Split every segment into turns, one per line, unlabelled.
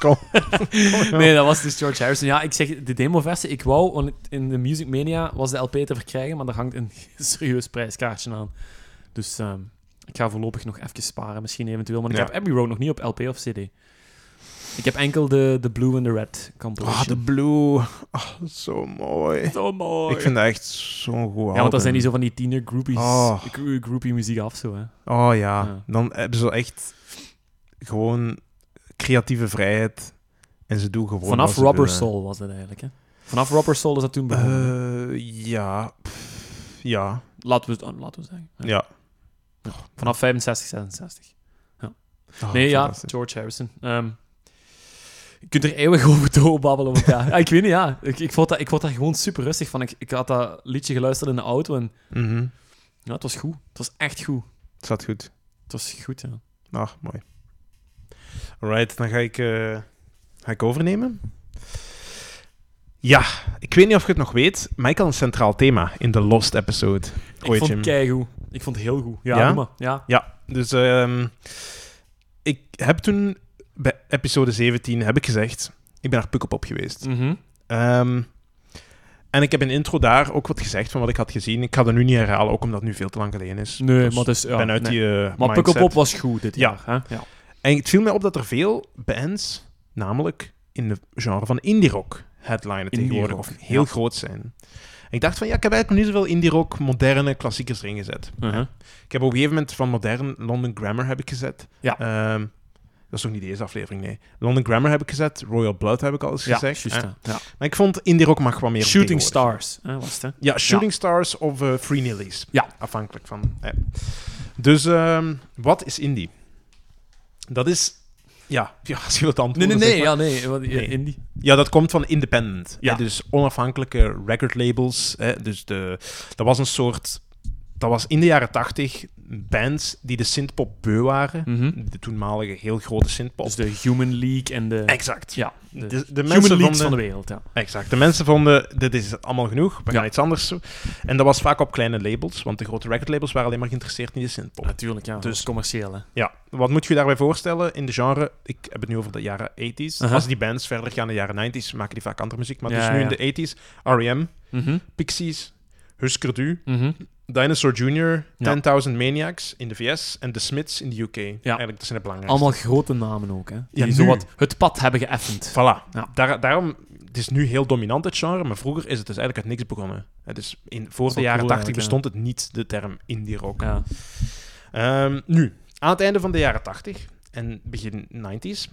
Kom.
Nee, dat was dus George Harrison. Ja, ik zeg, de demoversie, ik wou... want in de Music Mania was de LP te verkrijgen, maar daar hangt een serieus prijskaartje aan. Dus ehm, ik ga voorlopig nog even sparen, misschien eventueel. Maar ik
Ja.
heb Abbey Road nog niet op LP of CD. Ik heb enkel de, de Blue en de Red
Ah,
compilation.
de Blue. Ah, zo mooi.
Zo mooi.
Ik vind dat echt zo'n goed
ja, want
album.
dat zijn die zo van die tiener groupies,
Oh.
gro- groupie muziek af zo, hè.
Oh ja.
Ja.
dan hebben ze echt gewoon creatieve vrijheid. En ze doen gewoon. wat
Vanaf
ze
Rubber
willen.
Soul was dat eigenlijk, hè. Vanaf Rubber Soul is dat toen begonnen.
Eh, ja. Pff, ja.
laten, we, het- oh, laten we zeggen. Ja.
Ja.
Vanaf 65, 66.
Ah,
nee, ja,
fantastisch.
George Harrison. Ehm, je kunt er eeuwig over doorbabbelen. Want ja, ik weet niet, ja. Ik, ik, vond dat, ik vond dat gewoon super rustig van. Ik, ik had dat liedje geluisterd in de auto en
Mhm.
ja, het was goed. Het was echt goed.
Het zat goed.
Het was goed, ja.
Ah, mooi. Alright, dan ga ik, eh, ga ik overnemen. Ja, ik weet niet of je het nog weet, maar ik had een centraal thema in de Lost episode.
Ik
Ooit,
vond
Jim.
het keigoed. Ik vond het heel goed. Ja,
Ja?
doe maar. ja.
Dus ehm, ik heb toen bij episode 17 heb ik gezegd, ik ben naar Pukkelpop geweest.
Mhm.
Ehm, en ik heb in intro daar ook wat gezegd van wat ik had gezien. Ik ga dat nu niet herhalen, ook omdat het nu veel te lang geleden is.
Nee,
Dus
maar dus,
ik
ja,
ben uit
nee.
die eh,
Maar
mindset.
Pukkelpop was goed dit
Ja.
jaar, hè? Ja.
En het viel mij op dat er veel bands, namelijk in het genre van indie rock, headlinen
Indie
tegenwoordig,
rock,
of heel
ja.
groot zijn. En ik dacht van, ja, ik heb eigenlijk nog niet zoveel indie rock, moderne klassiekers erin gezet.
Uh-huh.
Ik heb op een gegeven moment van modern London Grammar heb ik gezet.
Ja.
Ehm, dat is nog niet deze aflevering, nee. London Grammar heb ik gezet, Royal Blood heb ik al eens
Ja,
gezegd.
juist,
Eh,
ja. Ja.
Maar ik vond indie rock mag wat meer
Shooting
vertegenwoordigen.
Stars, hè, was het, hè?
Ja, Shooting Stars of eh, Free Nillies.
Ja.
Afhankelijk van. hè. Dus ehm, wat is indie? Dat is. Ja, ja als je wilt
Nee,
antwoorden.
nee,
zeg
nee.
maar.
Ja, nee. want- ja,
Nee.
Indie.
Ja, dat komt van independent.
Ja.
Hè, dus onafhankelijke record labels. Hè, dus de, dat was een soort. Dat was in de jaren tachtig bands die de synthpop beu waren.
Mhm.
De toenmalige heel grote synthpop.
Dus de Human League en de...
exact.
Ja,
De,
de,
de
Human
mensen
Leagues
van de,
van de, wereld, ja.
Exact. De mensen vonden, dit is allemaal genoeg, we gaan
Ja.
iets anders doen. En dat was vaak op kleine labels, want de grote recordlabels waren alleen maar geïnteresseerd in de synthpop.
Natuurlijk, ja.
Dus-
Dus commercieel, hè.
Ja, wat moet je je daarbij voorstellen in de genre? Ik heb het nu over de jaren 80s.
Aha.
Als die bands verder gaan in de jaren 90s, maken die vaak andere muziek. Maar
Ja,
dus nu
ja.
in de 80s, R.E.M.,
Mhm.
Pixies, Husker Du,
Mhm.
Dinosaur Jr.,
Ja.
10.000 Maniacs in de VS en The Smiths in de UK. Eigenlijk, dat zijn de belangrijkste.
Allemaal grote namen ook, hè. Die
nu.
zowat het pad hebben geëffend.
Voilà.
Ja.
Daar, daarom, het is nu heel dominant het genre, maar vroeger is het dus eigenlijk uit niks begonnen. Het is in, voor
is
de
wel
jaren
cool
80 bestond
eigenlijk,
het niet, de term indie rock.
Ja.
Ehm, nu, aan het einde van de jaren 80 en begin 90s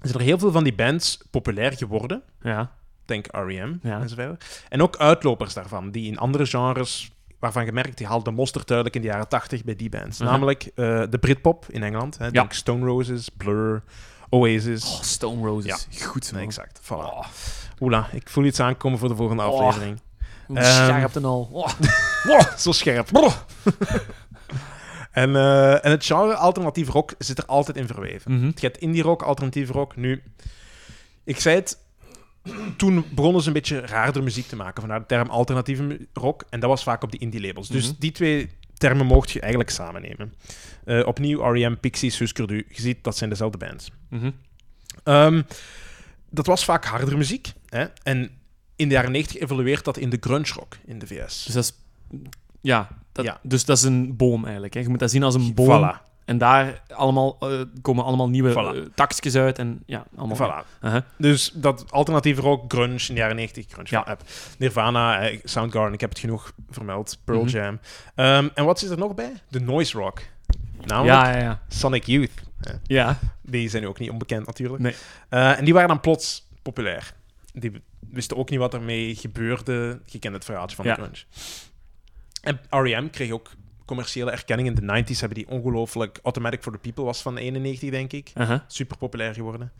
zijn er heel veel van die bands populair geworden.
Ja.
Denk R.E.M.
Ja.
enzovoort. En ook uitlopers daarvan, die in andere genres, waarvan gemerkt, die haalden monster duidelijk in de jaren 80 bij die bands.
Mhm.
Namelijk eh, de Britpop in Engeland. Hè. Denk Stone Roses, Blur, Oasis.
Oh, Stone Roses. Goed, man.
Nee, exact. Voilà.
Oh,
Oela, ik voel iets aankomen voor de volgende
Oh.
aflevering.
hoe
Ehm,
scherp en al. Oh.
Wow, zo scherp. Wow. en, eh, en het genre alternatief rock zit er altijd in verweven.
Mhm.
Je hebt indie rock, alternatief rock. Nu, ik zei het, toen begonnen ze een beetje raarder muziek te maken. Vandaar de term alternatieve mu- rock. En dat was vaak op die indie labels. Dus
Mhm.
die twee termen mocht je eigenlijk samen nemen. Eh, opnieuw R.E.M., Pixies, Husker Du. Je ziet, dat zijn dezelfde bands.
Mhm.
Ehm, dat was vaak harder muziek. Hè? En in de jaren 90 evolueert dat in de grunge rock in de VS.
Dus dat is... Ja. Dat,
Ja.
Dus dat is een boom, eigenlijk, hè. Je moet dat zien als een boom.
Voilà,
En daar allemaal, eh, komen allemaal nieuwe
Voilà.
eh, takjes uit en ja, allemaal...
voilà.
Uh-huh.
Dus dat alternatieve rock, grunge in de jaren 90, grunge.
Ja.
Ja. Nirvana, eh, Soundgarden, ik heb het genoeg vermeld. Pearl
Mhm.
Jam. Ehm, en wat zit er nog bij? De noise rock. Namelijk
Ja, ja, ja.
Sonic Youth.
Ja.
Die zijn nu ook niet onbekend natuurlijk.
Nee.
Eh, en die waren dan plots populair. Die wisten ook niet wat ermee gebeurde. Je kent het verhaaltje van
Ja.
de grunge. En R.E.M. kreeg ook commerciële erkenning. In de 90s hebben die ongelooflijk... Automatic for the People was van 91, denk ik.
Uh-huh.
Super populair geworden.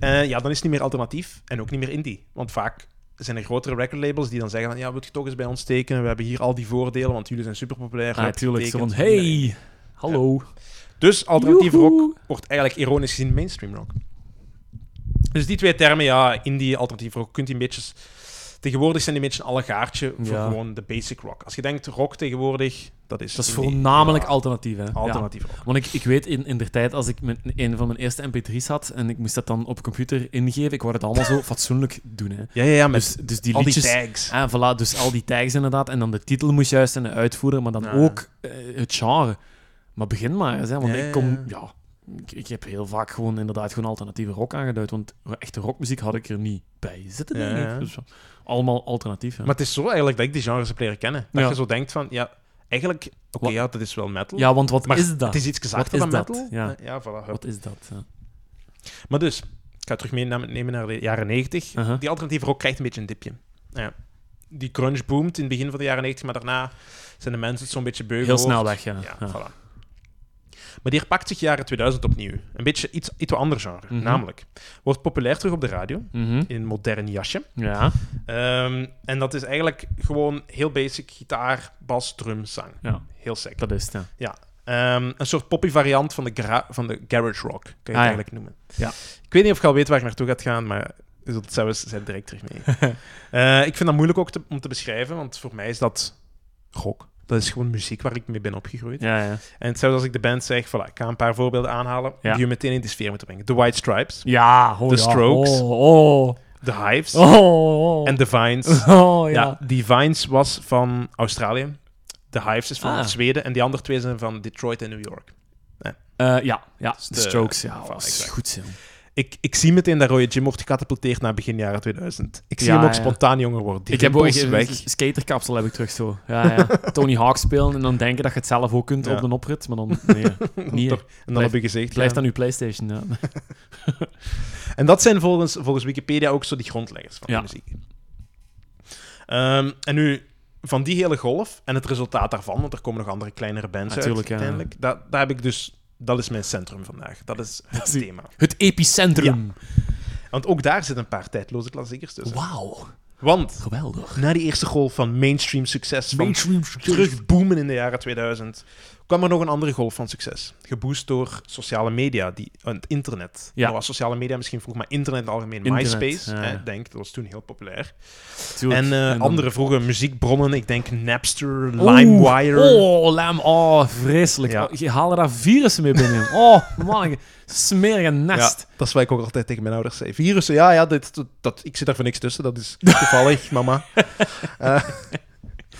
Eh, ja, dan is het niet meer alternatief en ook niet meer indie. Want vaak zijn er grotere recordlabels die dan zeggen van... Ja, wilt je toch eens bij ons tekenen? We hebben hier al die voordelen, want jullie zijn super populair.
Ah, natuurlijk. Zo van,
Hey.
hey, hallo.
Dus alternatief
Joehoe.
rock wordt eigenlijk ironisch gezien mainstream rock. Dus die twee termen, ja, indie, alternatief rock, kunt je een beetje... s- Het Tegenwoordig zijn die een beetje een allegaartje voor
Ja.
gewoon de basic rock. Als je denkt rock tegenwoordig, dat is...
Dat is
indie.
voornamelijk
Ja,
alternatief, hè? Ja.
alternatief rock.
Want ik, ik weet in, in der tijd, als ik mijn, een van mijn eerste mp3's had en ik moest dat dan op computer ingeven, ik wou het allemaal zo fatsoenlijk doen, hè.
Ja, ja, ja, met
Dus, dus die
al die
liedjes...
tags.
Ah, voilà, dus al die tags inderdaad. En dan de titel moest juist en de uitvoerder, maar dan
Ja.
ook eh, het genre. Maar begin maar eens, hè, want
Ja,
ik kom...
ja.
Ja, ik, ik heb heel vaak gewoon inderdaad gewoon alternatieve rock aangeduid, want echte rockmuziek had ik er niet bij zitten,
Ja,
denk ik.
ja.
Dus, allemaal alternatief, hè.
Maar het is zo eigenlijk dat ik die genres heb leren kennen. Dat
Ja.
je zo denkt van, ja, eigenlijk... Oké,
Wat-
ja, dat is wel metal.
ja, want wat
maar
is dat?
Het is iets zachter
is
dan
dat?
metal.
Ja.
ja voilà. hup.
Wat is dat? Ja.
Maar dus, ik ga terug meenemen naar de jaren 90.
Uh-huh.
Die alternatieve rock krijgt een beetje een dipje. Ja. Die grunge boomt in het begin van de jaren 90, maar daarna zijn de mensen het zo'n beetje beu
Heel
geworden.
snel weg, ja.
Ja,
Ja.
voilà. Maar die herpakt zich jaren 2000 opnieuw. Een beetje iets, iets wat ander genre.
Mhm.
Namelijk, wordt populair terug op de radio.
Mhm.
In een modern jasje.
Ja,
Ehm, en dat is eigenlijk gewoon heel basic gitaar, bas, drum, zang.
ja,
Heel sec.
dat is het. Ja.
Ehm, een soort poppy variant van de, gra- van de garage rock, kun je het
Ah, ja.
eigenlijk noemen.
Ja.
Ik weet niet of je al weet waar ik naartoe gaat gaan, maar dat zijn we zijn we direct terug mee. Eh, ik vind dat moeilijk ook te- om te beschrijven, want voor mij is dat rock. Dat is gewoon muziek waar ik mee ben opgegroeid.
Ja, ja.
En hetzelfde als ik de band zeg, voilà, ik ga een paar voorbeelden aanhalen
Ja.
die je meteen in de sfeer moeten brengen. The White Stripes,
ja oh,
The
ja.
Strokes.
Oh, oh,
The Hives en
oh, oh.
The Vines.
Oh,
Ja.
ja.
die Vines was van Australië. The Hives is van
Ah.
Zweden. En die andere twee zijn van Detroit en New York.
Eh, ja, ja.
Dus
The
de-
Strokes, ja.
voilà,
dat is
exact.
goed, zo.
Ik, ik zie meteen dat Roy Jim wordt gecatapulteerd naar begin jaren 2000. Ik zie
Ja,
hem ook
ja.
spontaan jonger worden. Die
Ik heb ook
rimpels
een
weg.
skaterkapsel heb ik terug zo. Ja, ja. Tony Hawk spelen en dan denken dat je het zelf ook kunt
Ja.
op een oprit, maar dan nee, het
en
niet,
dan
hè.
op je gezicht.
blijft
ja.
aan uw PlayStation. Ja.
En dat zijn volgens, volgens Wikipedia ook zo die grondleggers van
Ja.
de muziek. Ehm, en nu, van die hele golf en het resultaat daarvan, want er komen nog andere kleinere bands
Natuurlijk,
uit
ja.
uiteindelijk. Dat, daar heb ik dus... Dat is mijn centrum vandaag. Dat is het
Dat is-
thema.
Het epicentrum.
Want ook daar zitten een paar tijdloze klassiekers tussen.
Wauw,
Want
geweldig.
na die eerste golf van mainstream succes, van
Mainstream
terug boomen in de jaren 2000, kwam er nog een andere golf van succes. Geboost door sociale media, die, eh, het internet.
Ja.
Nou was sociale media misschien vroeg, maar internet in het algemeen.
Internet,
MySpace,
ja.
hè, denk, dat was toen heel populair.
Tuurlijk.
en eh,
dan-
andere vroege muziekbronnen, ik denk Napster,
Oeh,
LimeWire.
Oh, Lime. Oh, vreselijk.
Ja.
Oh, je haalde daar virussen mee binnen. Oh, man. Smerige
Ja,
nest.
dat is wat ik ook altijd tegen mijn ouders zei. Virussen, ja, ja dit, dat, dat- ik zit daar voor niks tussen. Dat is toevallig, mama.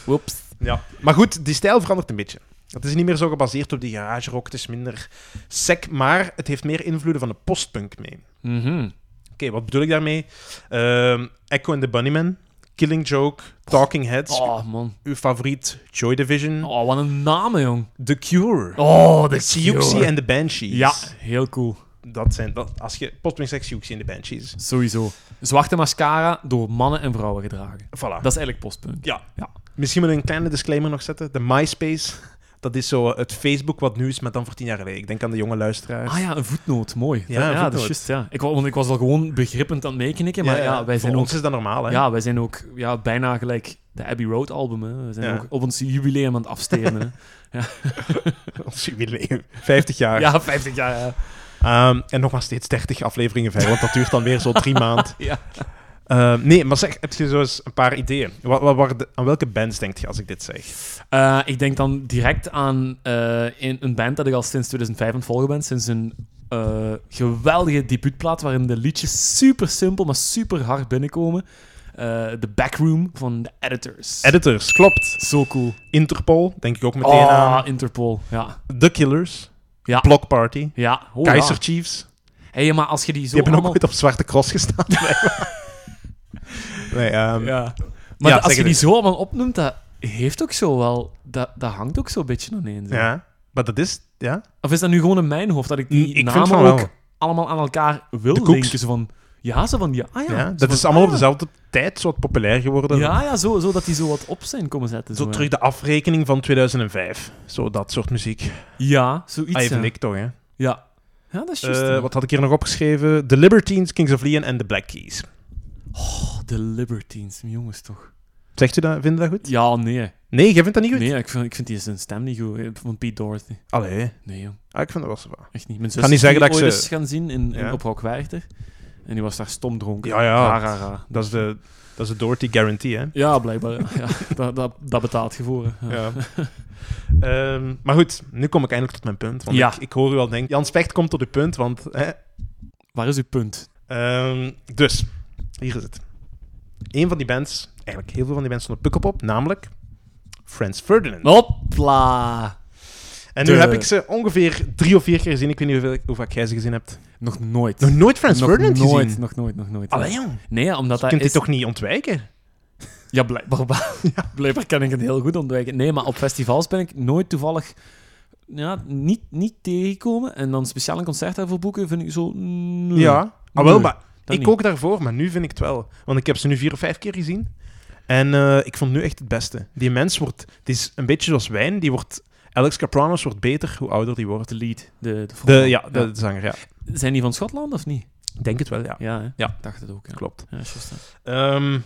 Whoops.
Ja. Maar goed, die stijl verandert een beetje. Het is niet meer zo gebaseerd op die garage rock. Het is minder sec, maar het heeft meer invloeden van de postpunk mee.
Mhm.
Oké, wat bedoel ik daarmee? Ehm, Echo and the Bunnymen, Killing Joke, Talking Heads,
Oh, man.
uw favoriet Joy Division,
Oh, wat een naam, jong.
The Cure,
Oh, de
Siouxsie en de Banshees.
Ja, heel cool.
Dat zijn, dat, als je postpunk zegt, Siouxsie en de Banshees.
Sowieso. Zwarte mascara door mannen en vrouwen gedragen.
Voilà.
Dat is eigenlijk postpunk.
Ja.
Ja.
Misschien moet ik een kleine disclaimer nog zetten. De MySpace, dat is zo het Facebook wat nu is, maar dan voor tien jaar geleden. Ik denk aan de jonge luisteraars.
Ah ja, een voetnoot. Mooi.
Ja,
Ja,
een
ja dat
voetnoot.
is juist. Ja. Ik, wa- want ik was al gewoon begrippend aan het meeknikken, maar ja, wij
voor
zijn ook...
ons is dat normaal, hè?
Ja, wij zijn ook ja, bijna gelijk de Abbey Road album. Hè. We zijn
Ja.
ook op ons jubileum aan het afstenen. hè.
Ons jubileum. 50 jaar.
ja, 50 jaar. ja.
Ehm, en nog maar steeds 30 afleveringen verder, want dat duurt dan weer zo drie maanden. Ehm,
Ja.
nee, maar zeg, heb je zo eens een paar ideeën? Wat, wat, waar de- aan welke bands denk je als ik dit zeg?
Eh, ik denk dan direct aan eh, een, een band dat ik al sinds 2005 aan het volgen ben. Sinds een eh, geweldige debuutplaat waarin de liedjes super simpel, maar super hard binnenkomen. Eh The Backroom van The Editors.
Editors, klopt.
Zo cool.
Interpol, denk ik ook meteen
Ah,
aan.
Interpol. Ja.
The Killers.
Ja.
Block Party.
Ja. Oh,
Kaiser
ja.
Chiefs. Die
Hey, maar als je die zo
hebben
allemaal...
ook ooit op Zwarte Cross gestaan. nee, ehm,
Ja. Maar
Ja,
als
zeg het
je die
eens.
zo allemaal opnoemt, dat heeft ook zo wel... Dat, dat hangt ook zo'n beetje aan één. zo.
ja. Maar dat is, ja.
Of is dat nu gewoon in mijn hoofd dat ik die
Mm, ik vind
namen
van
ook
wel.
allemaal aan elkaar wil
De koeks.
linken? Zo van, ja, zo van, ja, ah, ja.
ja.
Zo
Dat
van,
is allemaal
ah,
op dezelfde tijd zo wat populair geworden.
Ja, ja, zo, zo dat die zo wat op zijn komen zetten. Zo,
Zo
ja.
terug de afrekening van 2005. Zo dat soort muziek.
Ja, zoiets.
Ah, je
ja.
vind ik toch, hè?
Ja. ja, dat is
Eh,
juist. ja.
wat had ik hier nog opgeschreven? The Libertines, Kings of Leon en The Black Keys.
Oh, de Libertines, jongens toch.
Zegt u dat? Vindt u dat goed?
Ja, nee.
Nee, jij vindt dat niet goed?
Nee, ik vind, ik vind die zijn stem niet goed. Ik vond Pete Dorothy.
Allee.
Nee, jong.
Ah, ik vind dat wel zo van.
Echt niet. Mijn zus
niet
is
zeggen
die
dat ik
ooit
ze-
eens gaan zien in, in-
Ja.
op Rockwerchter. En die was daar stom dronken.
Ja, ja.
Ra, ra, ra.
Dat is de, Dat is de Doherty guarantee, hè?
Ja, blijkbaar. ja, dat, dat, dat betaalt gevoeren. Ja.
Ja. Ehm, maar goed, nu kom ik eindelijk tot mijn punt. Want
Ja.
ik, ik hoor u al denken, Jan Specht komt tot uw punt, want... Hè,
Waar is uw punt?
Ehm, dus, hier is het. Een van die bands, eigenlijk heel veel van die bands stonden puk op op, namelijk Franz Ferdinand.
Hopla!
en nu
de-
heb ik ze ongeveer drie of vier keer gezien. Ik weet niet hoeveel, hoe vaak jij ze gezien hebt.
Nog nooit.
Nog nooit Franz
nog
Ferdinand
nooit,
gezien?
nog nooit, nog nooit.
Allee, jong.
Nee, ja, omdat
Je
dat
kunt
is...
dit toch niet ontwijken?
Ja, blijkbaar, blijkbaar kan ik het heel goed ontwijken. Nee, maar op festivals ben ik nooit toevallig ja, niet, niet tegengekomen. En dan speciaal een concert daarvoor boeken vind ik zo... nee.
Ja. Ah, wel,
Nee,
maar
Hmm. dat
ik
niet.
ook daarvoor, maar nu vind ik het wel. Want ik heb ze nu vier of vijf keer gezien. En eh, ik vond nu echt het beste. Die mens wordt... Het is een beetje zoals wijn. Die wordt... Alex Capranos wordt beter hoe ouder die wordt.
De lead, de, de,
De,
frontman.
ja, de, de zanger, ja.
Zijn die van Schotland of niet?
Ik Denk het wel, ja.
Ja, hè?
Ja.
dacht het ook. Ja,
Klopt.
Ja, is juist, hè.
Ehm,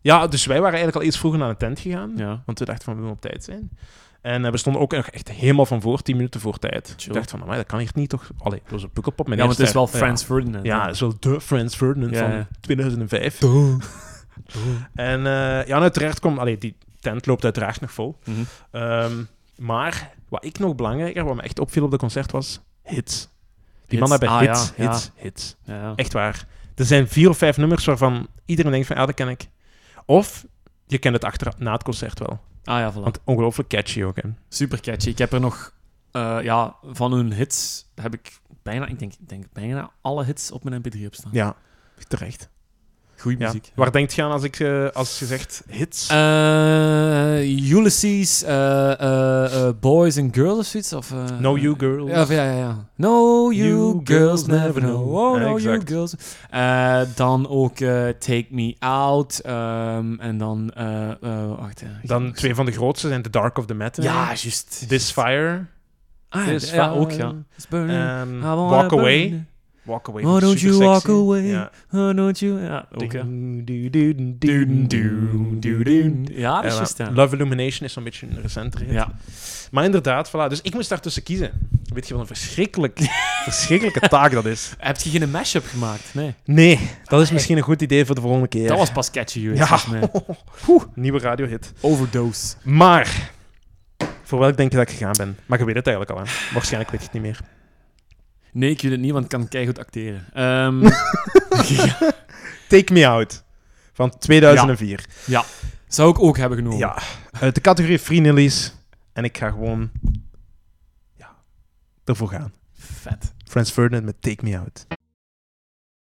ja, dus wij waren eigenlijk al iets vroeger naar de tent gegaan.
ja.
Want we dachten van, we willen op tijd zijn. En eh, we stonden ook nog echt helemaal van voor, 10 minuten voor tijd.
Chill.
Ik dacht van, maar dat kan hier niet toch? Allee, dat was een pukkelpop.
ja
mijn
want het is
eerste-
wel Franz Ferdinand.
Ja, ja, dat is wel de Franz Ferdinand
Ja, ja.
van 2005. En eh, ja, en uiteraard kwam... Allee, die tent loopt uiteraard nog vol.
Mhm.
Ehm, maar wat ik nog belangrijker, wat me echt opviel op dat concert was, hits. Die
Hits.
mannen hebben
Ah,
hits,
ja, ja.
hits, hits.
Ja.
Echt waar. Er zijn vier of vijf nummers waarvan iedereen denkt van, ja, dat ken ik. Of je kent het achter, na het concert wel.
Ah ja, voilà.
Want ongelooflijk catchy ook, hè.
Super catchy. Ik heb er nog... eh, ja, van hun hits heb ik bijna... Ik denk, ik denk bijna alle hits op mijn mp3 op staan.
Ja, terecht.
Goeie
Ja.
muziek.
Waar denkt je aan als, ik, eh, als je zegt hits?
Eh, Ulysses, eh, eh, eh, Boys and Girls of zoiets? Of, eh,
no You Girl.
Ja, of ja, ja, ja. No, you,
You
girls, never know. Oh,
Ja,
no,
exact.
you girls. Eh, dan ook eh, Take Me Out. ehm, en dan... eh, eh, wacht, eh, ik-
Dan twee van de grootste zijn The Dark of the Matter.
Ja, juist.
This Fire.
Ah,
This
ja, ja,
Fire.
ook, ja. It's burning.
ehm,
I wanna
walk Away.
burn.
Walk Away.
Oh, don't you
supersexy.
walk away.
Ja.
Oh, don't you... Ja, ook, ja.
Doe, doe, doe, doe, doe,
Doen,
doe,
doen,
doe,
doen,
doe.
doen. Ja, dat is
Ja,
juist, ja.
Eh, Love Illumination is zo'n beetje een recentere hit.
Ja.
Maar inderdaad, voilà. Dus ik moest daartussen kiezen. Weet je wat een verschrikkelijk, verschrikkelijke taak dat is?
Heb je geen mashup gemaakt? Nee.
Nee, dat is misschien een goed idee voor de volgende keer.
Dat was pas catchy, joh.
Ja.
volgens mij.
Oeh, nieuwe radiohit.
Overdose.
Maar, voor welk denk je dat ik gegaan ben? Maar je weet het eigenlijk al, hè? Waarschijnlijk weet je het niet meer.
Nee, ik weet het niet, want ik kan keihard acteren. Ehm, ja.
Take Me Out, van 2004.
Zou ik ook hebben genomen.
Ja, uit de categorie Free Nillies. En ik ga gewoon ja, ervoor gaan.
Vet.
Frans Ferdinand met Take Me Out.